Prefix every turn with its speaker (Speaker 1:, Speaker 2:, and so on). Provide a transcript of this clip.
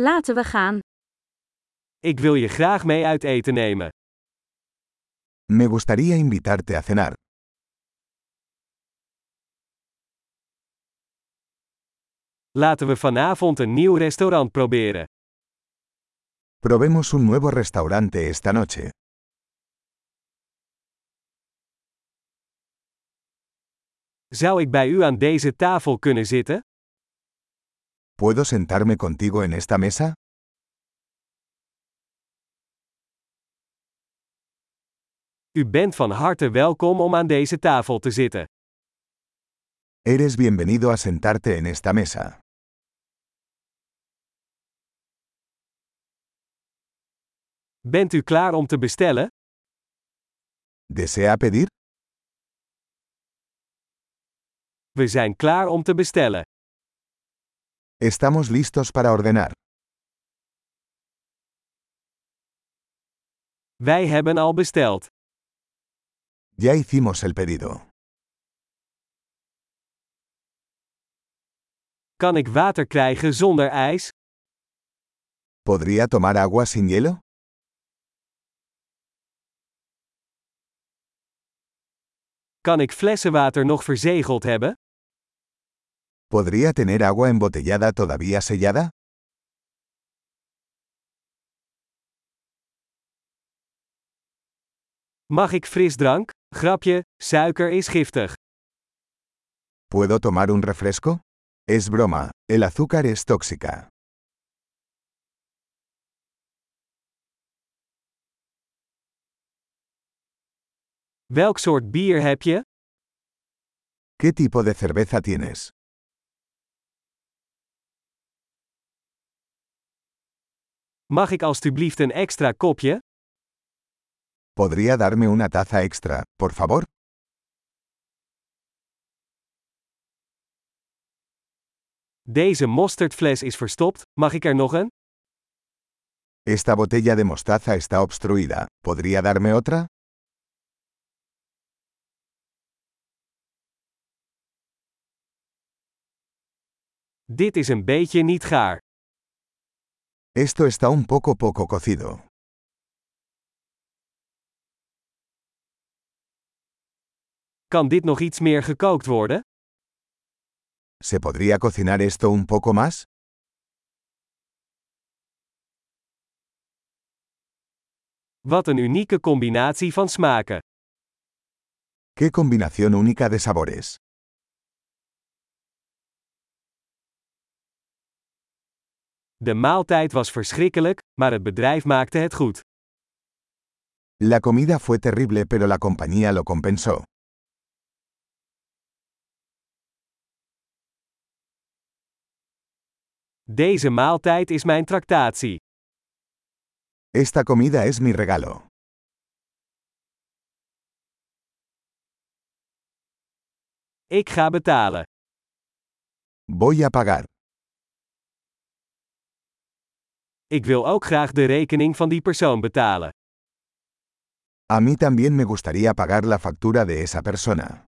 Speaker 1: Laten we gaan.
Speaker 2: Ik wil je graag mee uit eten nemen.
Speaker 3: Me gustaría invitarte a cenar.
Speaker 2: Laten we vanavond een nieuw restaurant proberen.
Speaker 3: Probemos un nuevo restaurante esta noche.
Speaker 2: Zou ik bij u aan deze tafel kunnen zitten?
Speaker 3: ¿Puedo sentarme contigo en esta mesa?
Speaker 2: U bent van harte welkom om aan deze tafel te zitten.
Speaker 3: Eres bienvenido a sentarte en esta mesa.
Speaker 2: Bent u klaar om te bestellen?
Speaker 3: ¿Desea pedir?
Speaker 2: We zijn klaar om te bestellen.
Speaker 3: Estamos listos para ordenar.
Speaker 2: Wij hebben al besteld.
Speaker 3: Ya hicimos el pedido.
Speaker 2: Kan ik water krijgen zonder ijs?
Speaker 3: ¿Podría tomar agua sin hielo?
Speaker 2: Kan ik flessenwater nog verzegeld hebben?
Speaker 3: ¿Podría tener agua embotellada todavía sellada?
Speaker 2: Mag ik frisdrank? Grapje, suiker is giftig.
Speaker 3: ¿Puedo tomar un refresco? Es broma, el azúcar es tóxica.
Speaker 2: Welk soort bier heb je?
Speaker 3: ¿Qué tipo de cerveza tienes?
Speaker 2: Mag ik alstublieft een extra kopje?
Speaker 3: ¿Podría darme una taza extra, por favor?
Speaker 2: Deze mosterdfles is verstopt, mag ik er nog een?
Speaker 3: Esta botella de mostaza está obstruida. ¿Podría darme otra?
Speaker 2: Dit is een beetje niet gaar.
Speaker 3: Esto está un poco poco cocido.
Speaker 2: Kan dit nog iets meer gekookt worden?
Speaker 3: ¿Se podría cocinar esto un poco más?
Speaker 2: Wat een unieke combinatie van smaken.
Speaker 3: ¡Qué combinación única de sabores!
Speaker 2: De maaltijd was verschrikkelijk, maar het bedrijf maakte het goed.
Speaker 3: La comida fue terrible pero la compañía lo compensó.
Speaker 2: Deze maaltijd is mijn tractatie.
Speaker 3: Esta comida es mi regalo.
Speaker 2: Ik ga betalen.
Speaker 3: Voy a pagar.
Speaker 2: Ik wil ook graag de rekening van die persoon betalen.
Speaker 3: A mí también me gustaría pagar la factura de esa persona.